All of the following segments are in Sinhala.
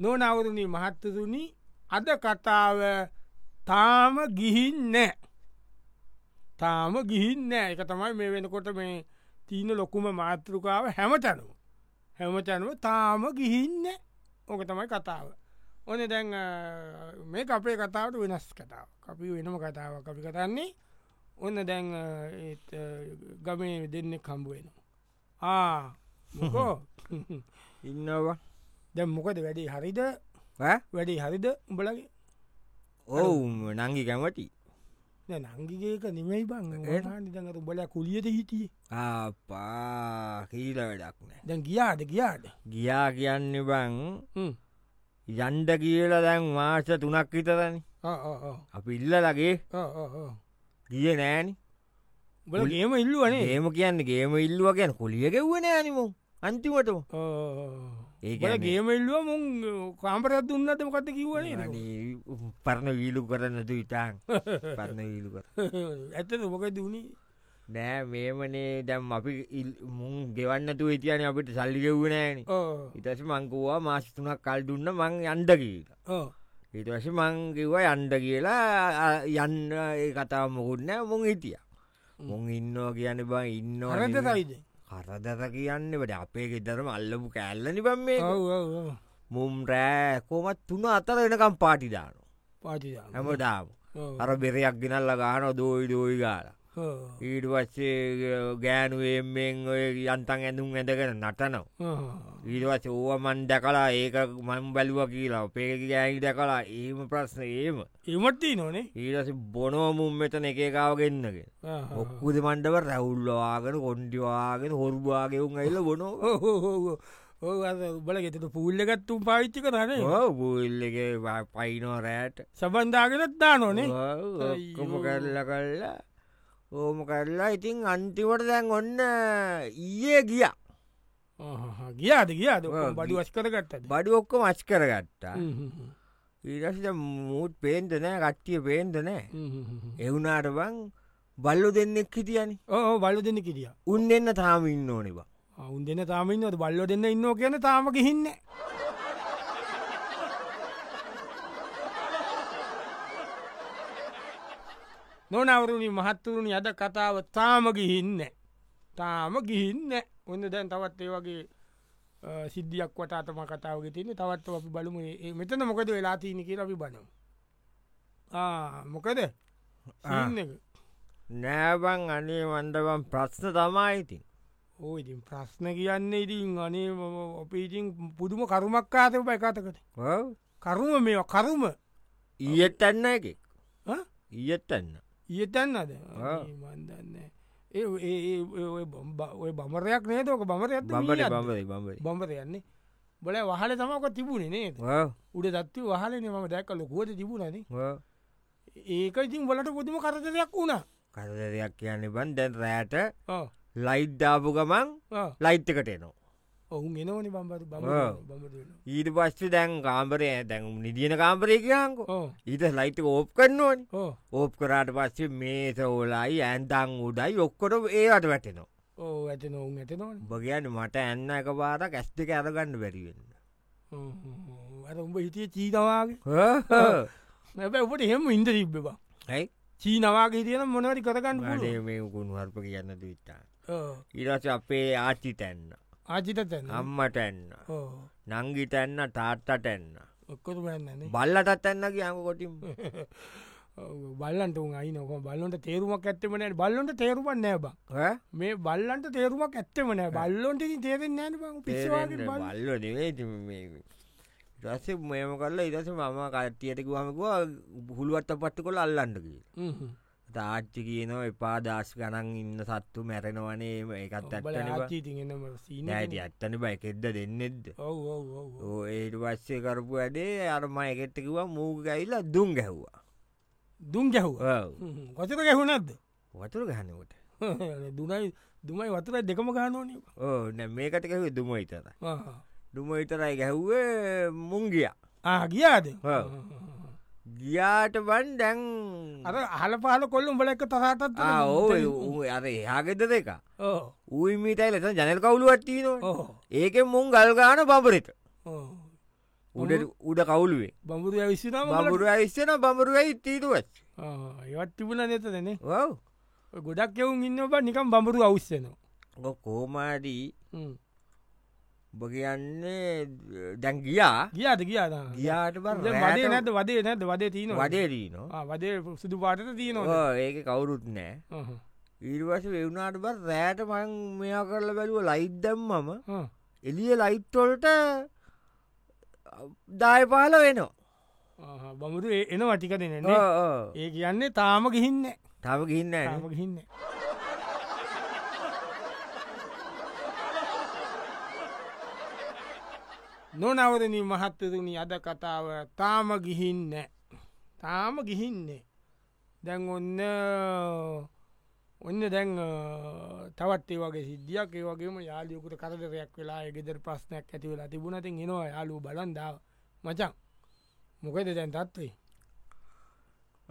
නොනවරණී මහත්තතුනි අද කතාව තාම ගිහින්නෑ තාම ගිහින්න එක තමයි මේ වෙනකොට මේ තියන ලොකුම මාතෘකාව හැමතැනුව හැමතැනුව තාම ගිහින්න ඕක තමයි කතාව ඕන දැන් අ, මේ අපේ කතාවට වෙනස් කතාව අපි වෙනම කතාව අපි කතන්නේ ඔන්න දැන් අ, ඒත්, අ, ගමේ දෙන්න කම්බුවෙනවා ආ මොකෝ ඉන්නවා දැම් මොකද වැඩි හරිද වැඩි හරිද උඹලගේ ඔවු නංගි කැමටි දැන් නංගිගේක නිමයි ඒත්? බං නිදඟට උබල කුලියට හිටිය ආපා කීල වැඩක් නෑ දැන් ගියාද ගියාද ගියා කියන්න බං හ්ම්. යන්ඩ කියලා දැන් මාස තුනක් විතරනි ආ, ආ, ආ. අපි ඉල්ලලගේ ආ, ආ, ආ. ගිය නෑනි උඹලා මුල්- ගේම ඉල්ලුවනේ ඒම කියන්න ගේම ඉල්ලුව කියන් කොලිය ගෙව්වන අනිමු අන්තිමට ඒ කියන්නේ- ගේම ඉල්ලුව මුන් කාම්පරත් දුන්නට මොකත කිවනේ පරණ වීලු කරන්නතු ඉතාන් පරණ වීලු කර ඇත මොක දුණී නෑ මේමනේ දැම් අපි ඉල්- මුන් ගෙවන්නතු ඉතියන අපිට සල්ලි ගෙව්නෑන ඉතස මංකවා මාස්තුනක් කල් දුන්න මං යන්ඩ කියලා ඉටවස මංකිව යන්ඩ කියලා අ- යන්න ඒ කතාව මොකුන්න මුන් හිටිය මුන් ඉන්නවා කියන්න බං ඉන්නවා හරද නෙමෙයි. සයිද කරදර කියන්න වට අපේ ගෙදරම අල්ලපු කෑල්ලනි බම් මේ මුම් රෑ කෝමත් තුන අතර වෙනකම් පාටිදානු පාච හැමදාම අර බෙරයක් ගෙනල්ල ගාන දෝයි දෝයි ගාල ඊට පස්සේ ගෑනුවෙන්ෙන් ඔය යන්තන් ඇඳුම් ඇඳගෙන නටනව ඊටවස් ඕව මන් දැකලා ඒක මන් බැලුව කියලා පේක ගෑහි දැකලා ඒම ප්‍රශ්න ඒම එමටී නොනේ ඊටස බොනෝමුම් මෙතන එකකාවගෙන්න්නගෙන ඔක්කුද මණ්ඩව රැවුල්ලවාගෙන කොන්්ඩිවාගෙන හොරුවාගෙවුන් ඇල්ල බොනෝ බල ගෙතට පූල්ලගත්තුම් පාවිච්චික රනේ බූල්ලක පයිනෝ රෑට සබන්ධාගෙනත් දා නොනේ ඔක්කොම අයියෝ. කරල කල්ලා ඕම කරලා ඉතින් අන්තිවට දැන් ඔන්න ඊයේ ගිය ගියාද ගියාද ඔව්, ගි- බඩි වස් කරගත්තද බඩි ඔක්කො මච් කරගත්තා ඊටසිට මූත් පේන්දනෑ කට්ටිය පේන්දනෑ එවුනාට බං බල්ලො දෙන්නෙක් හිටියනි ඕ බල්ල දෙන්න කිරිය උන් දෙන්න තාම ඉන්න ඕනිවා ඔවුන් දෙන්න තාමන්නවට බල්ලෝ දෙන්න ඉන්න කියන තාමක හින්න නොනවරුණි මහත්තුරුණි අද කතාව තාම ගිහින්න තාම ගිහින්න ඔන්න දැන් තවත් ඒ වගේ අ, සිද්ධියක් වටාතම කතාවග තියන්නේ තවත් අපි බලමු ඒ- ඒ මෙතන මොකද වෙලා තියන කිය අපි බලමු ආ, මොකද ආ. සින්න එක. නෑබං අනේ වන්ඩබම් ප්‍රශ්න තමයිඉතින් ඕ ඉතින් ප්‍රශ්න කියන්න ඉතින් අනේ මම අපේ ඉතින් පුදුම කරුමක් ආතප එකතකට කරුම මේ කරුම ඊයත්තන්න එකෙක් ඊයත්තන්න ඊතන්නද ආ. මන්දන්න ඒ ඒ- ඒ- ඒ ඔය බම්බ- ඔය බමරයක් නේතෝක බමර ඇත බඹට බඹරි බඹරි බම්බර යන්නේ බොල වහල තමක තිබුණේ නේද උඩ දත්ව වහලන ම දැක්කල ගුවට තිබුණන ඒක ඉතින් බලට පුදුම කරදයක් වුණා කරදරයක් කියන්න බන් දැන් රෑට ආ, ලයිට්ඩාපු ගමන් ආ. ලයිට්කට එනවා ඔවුන් එනවන බම්බර බම ආ. ඊට පස්ස දැන් කාම්පරය දැන් නිදියන කාම්පරය කියංකෝ ඕ ඊට ලයිට් ඕප් කරන්නවනි ඕ ඕප් කරාට පස්සේ මේස ඕලායි ඇන්තං උඩයි ඔක්කොට ඒවට වැටෙනවා ඕ ඇත නොවුන් ඇතනවන බගයන්න මට ඇන්න එක පාරක් ඇස් දෙක ඇරගන්න බැරිවෙන්න අර උඹ හිටිය චීතවාගේ නැබැ ඔපට එහෙම ඉන්ද තිබ්බවා ඇයි චීනවාගේ තියෙන මොනවැරි කරගන්න මනේ මේ ගුණුවර්ප කියන්න දවිතා පුළුවන් ඉරස අපේ ආච්චි තැන්න ආචිතත් අම්මට ඇන්න නංගි තැන්න තාත්තට ඇන්න ඔක්කොට බැන්නන බල්ලටත් ඇන්න කියංග කොටින් බල්ලන්ට උන් අයි නොක බල්ලොට තේරුමක් ඇත්තමන බල්ලොට තේරුමක් නෑබ මේ බල්ලන්ට තේරුමක් ඇත්තමන බල්ලොන්ට තේරෙන් නෑන පිස්වාගේ බල්ල නෙවේ රස මෙම කරලා ඉරස මම කට්ටියටකුවමකවා හුළුවත්ත පට්ටි කොළ අල්ලන්න කියලා තාච්චි කියනව එපා දස් ගනන් ඉන්න සත්තු මැරෙනවනේ ඒම ඒකත් ඇත්තන ආචීතිගෙනම සීන නෑට ඇත්තන බ එකෙද්ද දෙන්නෙද ඔව ඒට පස්සේ කරපු වැඩේ අරම එකෙත්තකිවා මූග ඇයිලා දුම් ගැහ්වා දුම් ගැහ්ව කොතර ගැහුණක්ද වතුර ගහනකොට දුනයි දුමයි වතුර දෙකම ගානෝනය ඕ නැ මේකට ගැහුව දුම විතර දුම විතරයි ගැහ්වේ මුංගිය ආගියාද ඔව්. ගියාට බන් ඩැන් අර හල පාල කොල්ලුම් බල එක තරහටත් ඕ අර එයාගෙද දෙක ඕ ඌයිමීටයි ලෙස ජනල් කවුලුවත්තිීනවා ඕ ඒක මුං ගල්ගාන බබරෙට උඩ උඩ කවුලුවේ බමුර විශ්නම බමුරු ඇස්සන බමුරුවයි තීරුවත් ඒවත් තිබුණ නැත දෙනේ ඔව් ගොඩක් එවුන් ඉන්න බ නිකම් බඹරු අවස්සනවා ඔ කෝමාදී උඹ කියන්නේ දැන් ගියා ගියාද කියාද ගියාට බ වදේ නැද වදේ නැද වදේ තියෙන වඩේදී නො වදේ සිදු පාටත තියනවා ඒක කවුරුත් නෑ ඊර්වස වෙවුණට බ රෑට මං මෙයා කරලා බැලුව ලයිට් දැම් මම එලිය ලයිට්ටොල්ට දාය පහල වෙනවා බමුරු එන වටික දෙනන්නේ ඒ කියන්නේ තාම ගිහින්න තම ගින්න තාම ගිහින්න නොනවරණ මහත්තරුණි අද කතාව තාම ගිහින්න තාම ගිහින්නේ දැන් ඔන්න ඔන්න දැන් අ, තවත් ඒ වගේ සිද්ධියක් ඒ වගේම යාලියකුට කරදරයක් වෙලා ගෙදර ප්‍රශ්නයක් ඇතිවෙලා තිබුණතින් එනවා යාලු බලන්දාව මචන් මොකද දැන් තත්වේ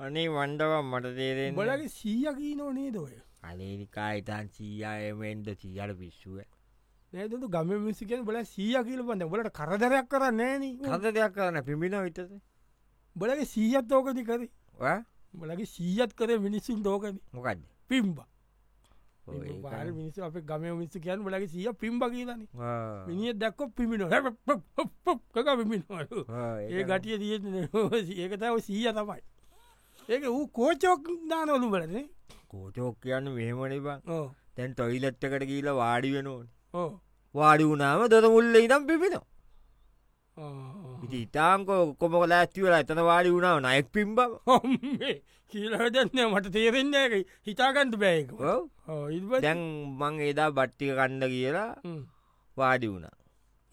අනේ වන්ඩවා මට තේරෙන් බලගේ සීයකී නොනේ දොය අනේනිකා ඉතාන් සීයායමෙන්ද සීයට පිස්සුව නෑතු ගම මිසිකෙන් බල සීයකිල බඳ බලට කරදරයක් කරන්න නෑන කත දෙයක් කරන පිමිණ විතද බලගේ සීයත් ඕකති කරි බලගේ සීයත් කර මිනිස්සුන් දෝකන මොකක්ද පිම්බ පාර මිනිස අප ගම මිස්ස කියන් බලගේ සීය පිම්බ කියලන මිනිිය දැක්කො පිමිණෝ හැක පිමිණවලු ඒ ගටිය දිය ඒකතාව සීය තමයි ඒක වූ කෝචෝක් දානොලු බලනේ කෝටෝක් කියන්න මෙහෙමන බං ඕ තැන් ටොයිලට්ටකට කියීල වාඩි වෙනෝන ඕ වාඩි වුණාම දොර මුල්ල ඉනම් පිපෙන ඉති ඉතාංකෝ කොම ලෑස්තිවල එතන වාඩි වුණාව නයෙක් පිම් බව හොම්ේ කියීලටදන්න මට තේරෙන්න එක හිතාගන්ට බෑක ඔව්. දැන් මං එදා බට්ටික කණ්ඩ කියලා වාඩි වුණා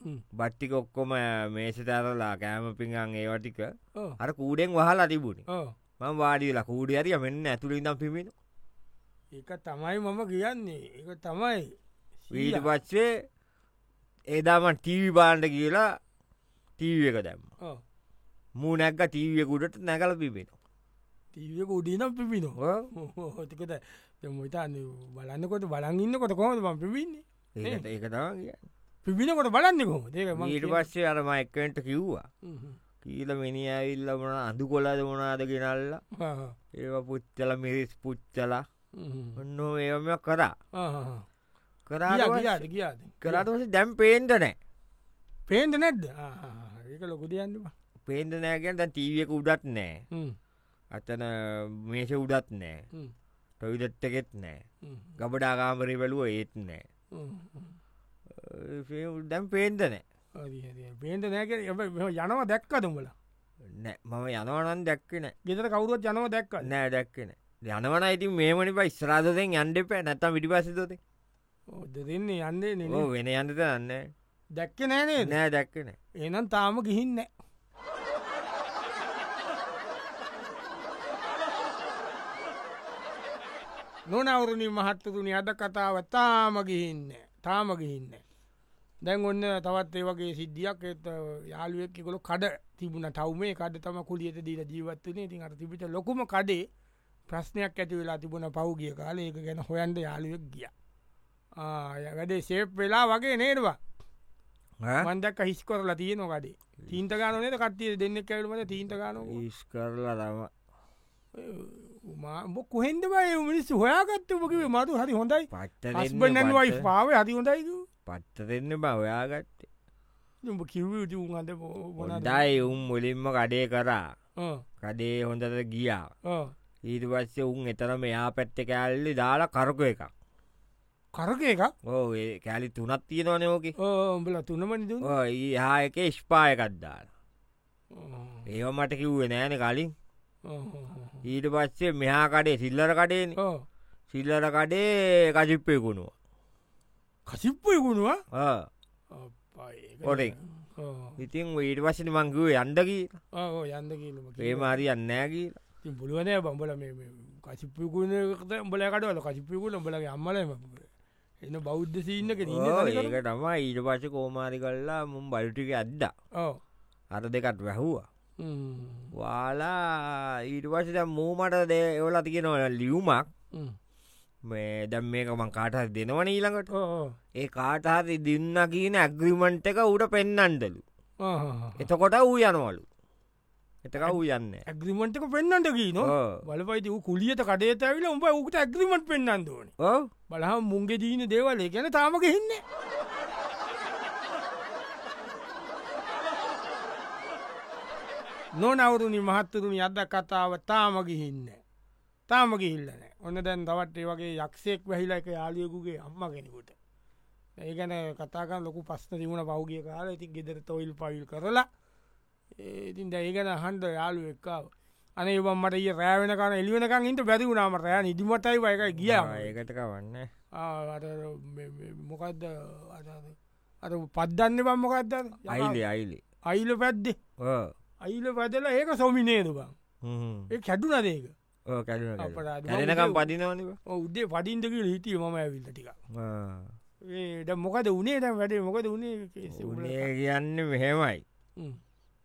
හ්ම්. බට්ටික ඔක්කොම මේසතරලා කෑම පිඟන් ඒවටික අර කූඩෙන් වහලා තිබුණි මං වාඩිලා කූඩි ඇරිය මෙන්න ඇතුළ ඉඳම් පිමිෙන ඒක තමයි මම කියන්නේ ඒ තමයි වීට පච්චේ එදාමන් ටීවි බාණ්ඩ කියලා ටීව එක දැම්ම මූ නැක්ක ටීවියකුඩට නැකල පිබෙන තීවක උඩිනම් පිපිනවා හොතිකත මොතාන්න බලන්නකොට බලන්ඉන්න කොට කොමද ම පිවින්නේ ඒකත ඒක තම කිය පිබිනකොට බලන්නෙකොම ඒක ඊට පස්සේ අරම එක්කට කිව්වා කියීල මිනි ඇවිල්ල මොන අඳු කොලාද මොනාද ගෙනල්ල ඒවා පුච්චල මිරිස් පුච්චල ඔන්න ඒම කරා කරා කියාද කියාද කරාටස දැම් පේන්ට නෑ පේන්ට නැද්ද ආ, ආ, ආ. ඒක ලොකුදයන්නවා පේන්ට නෑගෙන් දැන් ටීවියක උඩත් නෑ අතන මේෂ උඩත් නෑ ටොවිදට්ටකෙත් නෑ ගබඩාගාමරි වැලුව ඒත් නෑ දැම් පේන්ට නෑ පේන්ට නෑක යනව දැක්ක දුම්බල නෑ මම යනවනන් දැක්කෙන ගෙතර කවරුවත් යනව දැක්ක නෑ දැක්කෙන යනවන ඉති මේමනි ප ස්රාධතෙන් අන්ඩපෑ නැතම් විටි පසිතොත දෙන්නේ යන්නේ නේ වෙන අන්ත දන්න දැක්ක නෑනේ නෑ දැක්කෙන එනම් තාම ගිහින්න නොනවුරුණින් මහත්තතුනි අද කතාව තාම ගිහින්න තාම ගිහින්න දැන් ඔන්න තවත් ඒ වගේ සිද්ධියක් එත යාළුවෙක්කොළු කඩ තිබුණ ටව්මේ කඩ තම කුලියට දීල ජීවත්වනේ ඉතින් අර තිබිට ලොකුම කඩේ ප්‍රශ්නයක් ඇති වෙලා තිබුණ පෞගිය කාල ඒක ගැන හොයන්ට යාළුවෙක් ගිය වැඩේ සේප් වෙලා වගේ නේරවා මන්දක් හිස් කොරලා තියන කඩේ තීන්ත ගානනද කට්ටිය දෙන්න කැවලට තීන්ත ගාන ඉස් කරලා තම උමාම කොහෙන්දමයි මිනිස් හොයාගත්ත මකිව මතු හරි හොඳයි පට්ට හස්බනන්වයි පාව හරි හොඳයි පට්ට දෙන්න බවයාගත්ත උඹ කිව් උන්හඳ මොනද හොඳයි උම් මුලින්ම කඩේ කරා කඩේ හොඳට ගියා ඊට පස්සේ උන් එතරම එයා පැත්ත කෑල්ලි දාලා කරක එකක් කරක එක ඕ ඒ කෑලි තුනත් තියෙනවා නයෝකි උඹල තුනමනිද ඒහා එක ස්්පායකත්දාලා ඒව මට කිව්වේ නෑන කලින් ඊට පස්සේ මෙහා කඩේ සිල්ලර කඩේ සිල්ලර කඩේ කජිප්පයකුණුව කසිප්පය ගුණවා කොටෙක්. ඉතින් ඊට පස්සන මංකිව යන්ඩකි යන්න කියලම ඒ මාරි යන්නෑකි ඉතින් පුළුවනය බම්බල කසිපිකුණට උඹලකටවල කසිපිකුල උඹලගේ අම්මලම එන්න බෞද්ධ සීන්නක ඒක තමයි ඊට පස කෝමාරි කල්ලා මුම් බලිටික ඇද්දා අර දෙකත් වැැහ්වා Oh, mm, වාලා ඊට පස මූමට දේ එවලා තිගෙනවල ලියුමක් mm. මේ දැම් මේක මං කාටහත් Oh, දෙනවන ඊළඟට ඒ කාටහරි දෙන්න කියන ඇග්‍රිමන්ට් එක උට පෙන්නන්ඩලු Ah, එතකොට වූ යනවලු එතක වූ යන්න ඇග්‍රිමට්ක පෙන්න්නට ගී නො Oh. බලපයිති වූ කුලියට කඩේත ඇවිල උඹ උකට ඇග්‍රිමට් පෙන්න්න දෝන ඕ බලහම් මුන්ගේ දීන දේවලේ ගැන තාමක හින්න නොනවරුණි මහත්තරුණි අද කතාව තාමගිහින්න තාමගිහිල්ලන ඔන්න දැන් දවටේ වගේ යක්ෂෙක් වැහිලා එක යාලියකුගේ අම්ම කෙනෙකුට ඒගැන කතාකන් ලොකු පස්න තිබුණ පෞගිය කාල ඉතින් ගෙදර තොයිල් පවිල් කරලා ඒ ඉතින් දැඒගැන හන්ඩ යාලු එක්කාව අනේ බම් මට ඒ රෑවෙනකාන එලිවෙනකං ඉට බැතිවුණනාම රෑ නිදිමටයි වයක ගියා ඒකටක වන්න අර මොකක්ද අර පද්දන්න බම් මොකක්ද අයිලි අයිලි අයිල පැද්දේ අයිල පැදලා ඒක සොමිනේද බං ඒ කැඩුන දේක අපරාධ. කැනකම් පදිනවනිව උදේ පඩින්ටක හිටිය ම ඇවිල්ල ටික ඒට මොකද උනේ දැම් වැඩේ මොකද උනේ කේස් උගුල උනේ කියන්න මෙහෙමයි හ්ම්.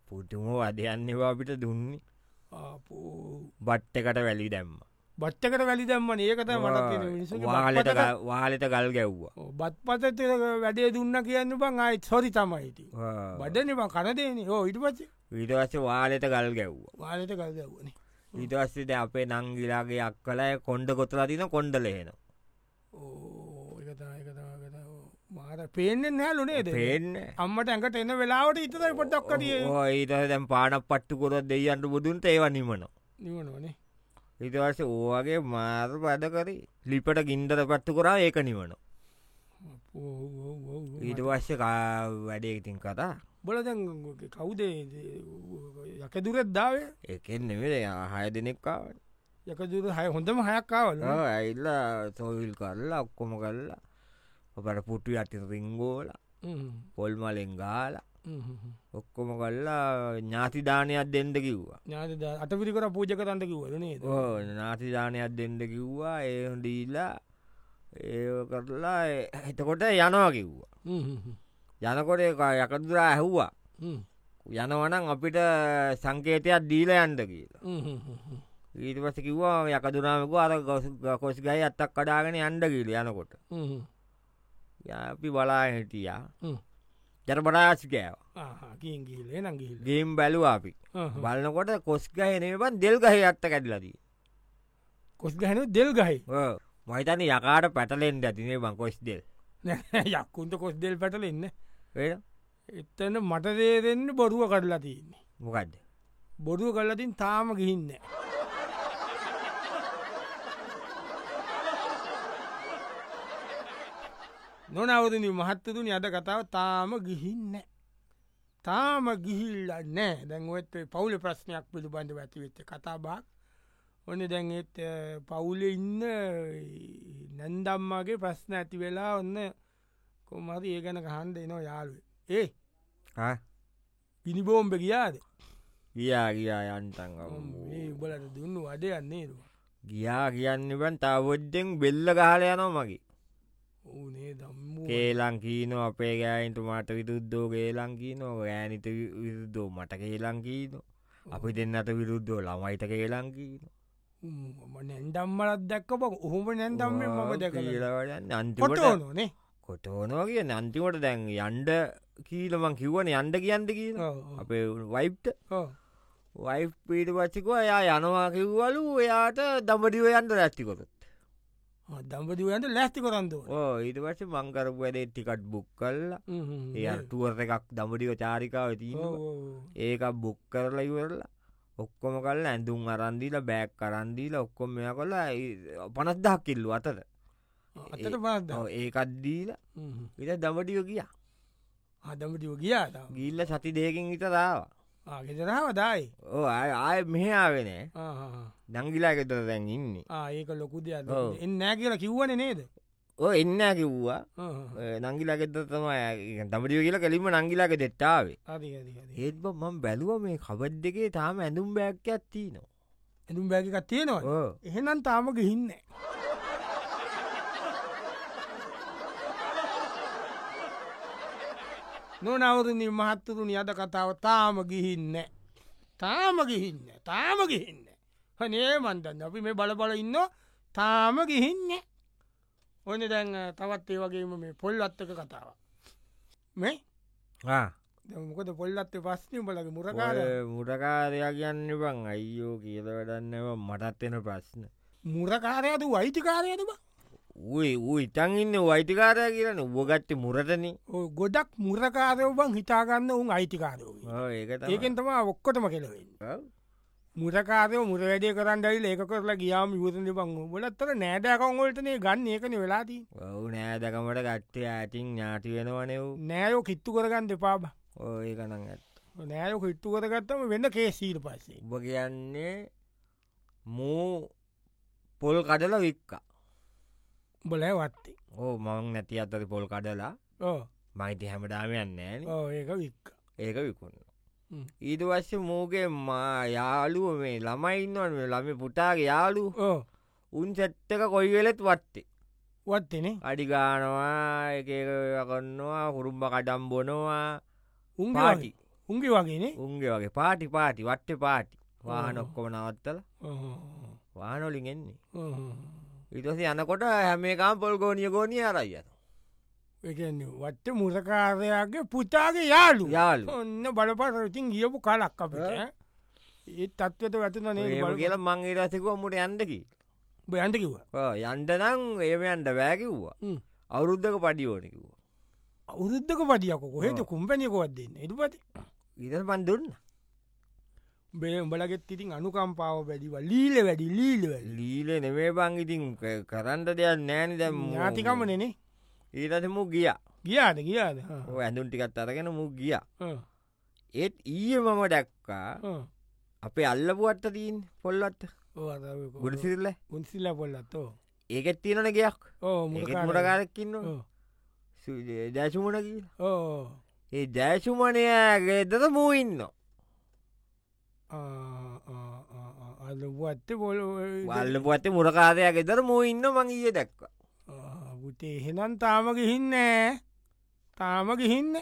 පුටුම වදයන්නවා අපිට දුන්නේ ආපෝ. බට්ටකට වැලි දැම්ම බච්චකට වැලි දැම්මන ඒකත මට වාලට ගල්- වාලෙට ගල් ගැව්වා බත් පත වැඩේ දුන්න කියන්න බං අයිත් සොරි තමයිති ආ. බඩන බං කරදයන හෝ ඉට පච්ච ඊට පස්සේ වාලෙට ගල් ගැව්වා වාලට කරදවන ඊට පස්සේද අපේ නංගිලාගේ අක්කලය කොන්ඩ කොතලා තින කොන්ඩලේන මාර පේෙන් හැලුනේද පේන්න අම්මට ඇඟට එන්න වෙලාවට ඉතයි පොටක් කටිය ඊට දැම් පානක් පට්ටු කොරත් දෙයියන්ට බුදුන්ට ඒව නිමන නිවනනේ ඉටවස ඕගේ මාර පදකරි ලිපට ගින්දර පට්ටු කරා ඒක නිවන ඊට වශ්‍ය වැඩේඉතින් කතා බලදැන් කවුදේ යකදුරත් දාවේ එකෙන් නෙමේ හය දෙනෙක්කාවට යකදුර හය හොඳම හයක්කාවල ඇල්ල සොවිල් කරලා ඔක්කොම කරලා ඔපට පුට්ටු අති රිංගෝල පොල් මලෙන් ගාල ඔක්කොම කල්ලා ඥාතිධානයක් දෙන්ඩ කිව්වා ඥාත අතපිරි කර පූජ කරන්ට කිවරනේ ඕ නාතිධානයක් දෙන්ඩ කිව්වා ඒ දීලා ඒ කරලා ඒ- එතකොට යනවා කිව්වා යනකොට ඒක යකදුරා ඇහුවා යනවනං අපිට සංකේතයක් දීලා යන්ඩ කියලා ඊට පස කිව්වා යකදුරාමකු අර ගොස්- කොස් ගයි අත්තක් කඩාගෙන යන්ඩ කියල යනකොට යා අපි බලා හිටියා ජරපරාශිකෑව කියෙන් ගිහිලේ නංගිහිල ගේම් බැලුව අපි බලනකොට කොස්ගහනවන් දෙල් ගහ අත්ත කැඩලදී කොස් ගැන දෙල් ගහයි මහිතන යකාට පැටලෙන් ඇතිනේ බං කොස් දෙල් යක්කුන්ට කොස් දෙල් පැටලෙන්න වෙන එත්තන්න මට දේදෙන්න්න බොරුව කඩලා තියන්නේ මොකක්ද බොරුව කල්ලතින් තාම ගිහින්න නොනවදන මහත්තතුනි අද කතාව තාම ගිහින්න තාම ගිහිල්ල නෑ දැන්ුවත් පවුල ප්‍රශ්නයක් පිළිබඳ ඇතිවෙච්ච කතාබාක් ඔන්න දැන්ත් පවුල ඉන්න නැන්දම්මාගේ ප්‍රශ්න ඇති වෙලා ඔන්න කොමරි ඒ ගැන කහන්ද එනවා යාළුව ඒ ආ? පිනිිබෝම්භ කියාද ගියා ගියා යන්තන් මේ උබලට දුන්න වඩයන්නේ නවා ගියා කියන්නබන් තවොද්දෙන් බෙල්ල ගහල යනවා මගේ ඕනේ දම්මෝ කේලං කීනෝ අපේ ගෑයින්ට මට විරුද්ධෝ ගේලං කීනෝ ගෑනිත විරුද්ධෝ මට කේලං කීනෝ අපි දෙන්නට විරුද්ධෝ ළමයිට කේලං කීනෝ ම නැන්ඩම්මලත් දැක්ක බක් ඔහොම නැන්දම්ම මම දැක කියලවලන්න අන්තිමට කොටෝනනේ කොටෝනවා කිය නන්තිමට දැන් යන්ඩ කීලමං කිව්වන යන්ඩ කියන්ද කියන Oh, අපේ වයිප්ට වයි් පීට පච්චිකෝ එයා යනවා කිව්වලු එයාට දම්බඩිව යන්ට රැස්තිකොත් Ah, දම්පතිවන්ට ලැස්ති කොරන්දුව ඕ ඊට පස්ස මංකරපු වැඩේ ටිකට් බුක් කල්ලා Mm, ඒ eh. අටුවර එකක් දම්බඩිව චාරිකාව Oh, තිීනවා ඒක බුක් කරලා ඉවරලා ඔක්කොම කල්ල ඇඳුම් අරන්දිීල බෑක් කරන්දීල ඔක්කොම මෙය කොලා පනස්දා කිල්ලු අතර අතට පාද Oh. ඒකත්දීල Mm, විට දමටිය කියා හදමටිව ගියාත ගිල්ල සති දෙයකින් විතරාව ගෙදරාව දායි ඕ ආය මෙහාවෙනෑ Ah, දංගිලා එකතර දැන් ඉන්නේ ඒක ලොකු දෙයක් ඔව්. එන්නෑ කියලා කිව්වන නේද ඕ එන්න කිව්වා Ah, නංගිලගෙත තමයි දමටිය කියලා කෙලින්ම නංගිලාක දෙෙට්ටාවේ ඒත් බ මම බැලුව මේ කබද් දෙකේ තාම ඇඳුම් බෑක්කයක් තිනවා ඇඳුම් බැගිකත් තියෙනවා එහෙනම් තාම ගිහින්න නොනවරණ මහත්තතුනි අද කතාව තාම ගිහින්න තාම ගිහින්න තාම ගිහින්න හනේ මන්දන්න අපි මේ බලබල ඉන්න තාම ගිහින්න ඔන්න දැන් අ, තවත් ඒ වගේම මේ පොල් අත්තක කතාව මේ මොකද පොල්ලත් පස්්නම බලක මුරකාර මුටකාරයා කියන්න බං අයියෝ කියල වැඩන්නව මටත් එෙන ප්‍රශ්න මුරකාරයතු වෛතිකාරයතුම ඌයි ඌ ඉතන් ඉන්න වෛතිකාරය කියන්න උබගත්ත මුරටන ගොඩක් මුරකාරය බං හිතාගන්න උන් අයිතිකාරෝ ඒකතඒ ඒකෙන් තම ඔක්කොටම කෙලවෙන්න මුරකාරය මුරවැඩය කරන්නයි ඒක කරලා ගියාම යුතන බං බලත්තර නෑඩයකංවලටනේ ගන්න ඒකන වෙලාති ඔවු නෑදකමට ගත්තේ ඇතින් ඥාති වෙනවනෙව් නෑයෝ කිත්තු කරගන්න දෙපාබ ඒකනන් ඇත් නෑයෝ කිට්තු කරගත්තම වෙන්න කේසීට පස්සේ උබ කියන්නේ මූ පොල් කඩල වික්කා බලෑ වත්තේ ඕ මං නැති අතර පොල් කඩලා ඕ මයිති හැමටාම යන්න ෑන ඕ ඒක වික්ක ඒක විකුණ හ්ම්. ඊට වස්සේ මූගේ මා යාලුව මේ ළමයින්නවන් ළම පුටාගේ යාලු ඕ උන් සැත්තක කොයි වෙලෙත් වත්තේ වත්තනේ අඩි ගානවා එකකන්නවා හුරුම්බ කඩම් බොනවා උන් පාටි උන්ගේ වගේනේ උන්ගේ වගේ පාටි පාටි වට්ට පාටි වාහන ඕ. ඔක්කොම නවත්තල ඕ. වානොලින් එන්නේ ඕ. ඉටස යනකොට හැමේකාම් පොල් ගෝනිය ගෝනිය අරයි යන ඒ කියන්නේ වත්ත මුරකාරයාගේ පුතාගේ යාලු යාලු ඔන්න බලපරතින් ගියපු කලක් අපට ඈ. ඒ තත්වට ඒම වැටනනේ කියලා මං ඒරසකුව මුට යන්දකි බයන්ට කිව යන්ටනං ඒම යන්ට බෑකිව්වා හ්ම්. අවුරුද්ධක පඩිෝනකිව්වා අවුරුද්ධක පටියක කොහෙට කුම්පැනිකොවත් දෙන්න එතුපති ඉත පන් දුන්න බේ උඹලගෙත් ඉතින් අනුකම්පාව වැඩිව ලීල වැඩි ලීල වැඩි ලීල නෙවේ බං ඉතින් ක- කරන්ට දෙයක් නෑනි දැම් ඥාතිකම නෙනේ ඊටස මු ගිය ගියාද ගියාද ඇඳුන් ටිකත් අරගෙන මු ගිය ඒත් ඊය මම දැක්කා අපේ අල්ලපුුවත්ත තිීන් පොල්ලත් ගොඩසිරල්ල උන්සිල්ල පොල්ලත්තෝ ඒකෙත් තියෙනන ගයක් ඕ ඒකෙත් මොටකාරක්කින්න දැසුමන කියලා ඕ ඒ දැසුමනයගේදද මූඉන්න අලුුවත්ත පොල වල්ල පුවත්ත මුරකාරයක් ෙදර මූඉන්න මං ඊය දැක්ක පුටේ හෙනම් තාම ගිහින්නෑ තාම ගිහින්න